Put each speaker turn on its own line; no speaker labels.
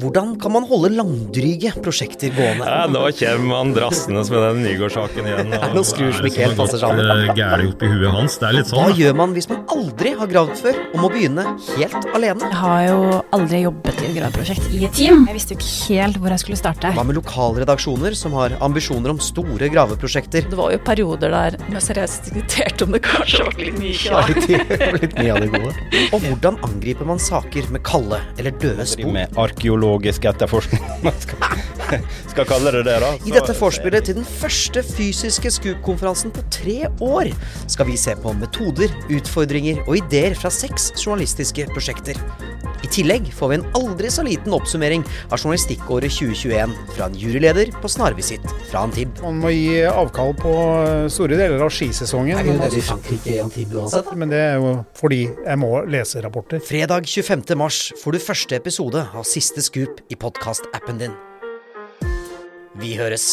Hvordan kan man holde langdryge prosjekter gående?
Ja, nå kommer han drassende med den Nygaard-saken igjen.
Det er noen skruer som ikke helt passer sammen.
Gæli oppi huet hans. Det er litt
Hva
sånn.
gjør man hvis man aldri har gravd før, og må begynne helt alene?
Jeg har jo aldri jobbet i et graveprosjekt i et team. Jeg visste jo ikke helt hvor jeg skulle starte.
Hva med lokalredaksjoner som har ambisjoner om store graveprosjekter?
Det var jo perioder der jeg seriøst diskuterte om det kanskje var litt mye
Ja, litt, litt mye av det gode. Og hvordan angriper man saker med kalde eller døde spor?
med arkeologisk etterforskning, om man skal, skal kalle det det. da.
I dette forspillet til den første fysiske Scoop-konferansen på tre år skal vi se på metoder, utfordringer og ideer fra seks journalistiske prosjekter. I tillegg får vi en aldri så liten oppsummering av journalistikkåret 2021 fra en juryleder på snarvisitt fra Antib.
Man må gi avkall på eh, store deler av skisesongen.
i Frankrike i Antib uansett, da?
Men det er jo fordi jeg må lese rapporter.
Fredag 25. mars får du første episode av Siste Scoop i podkast-appen din. Vi høres!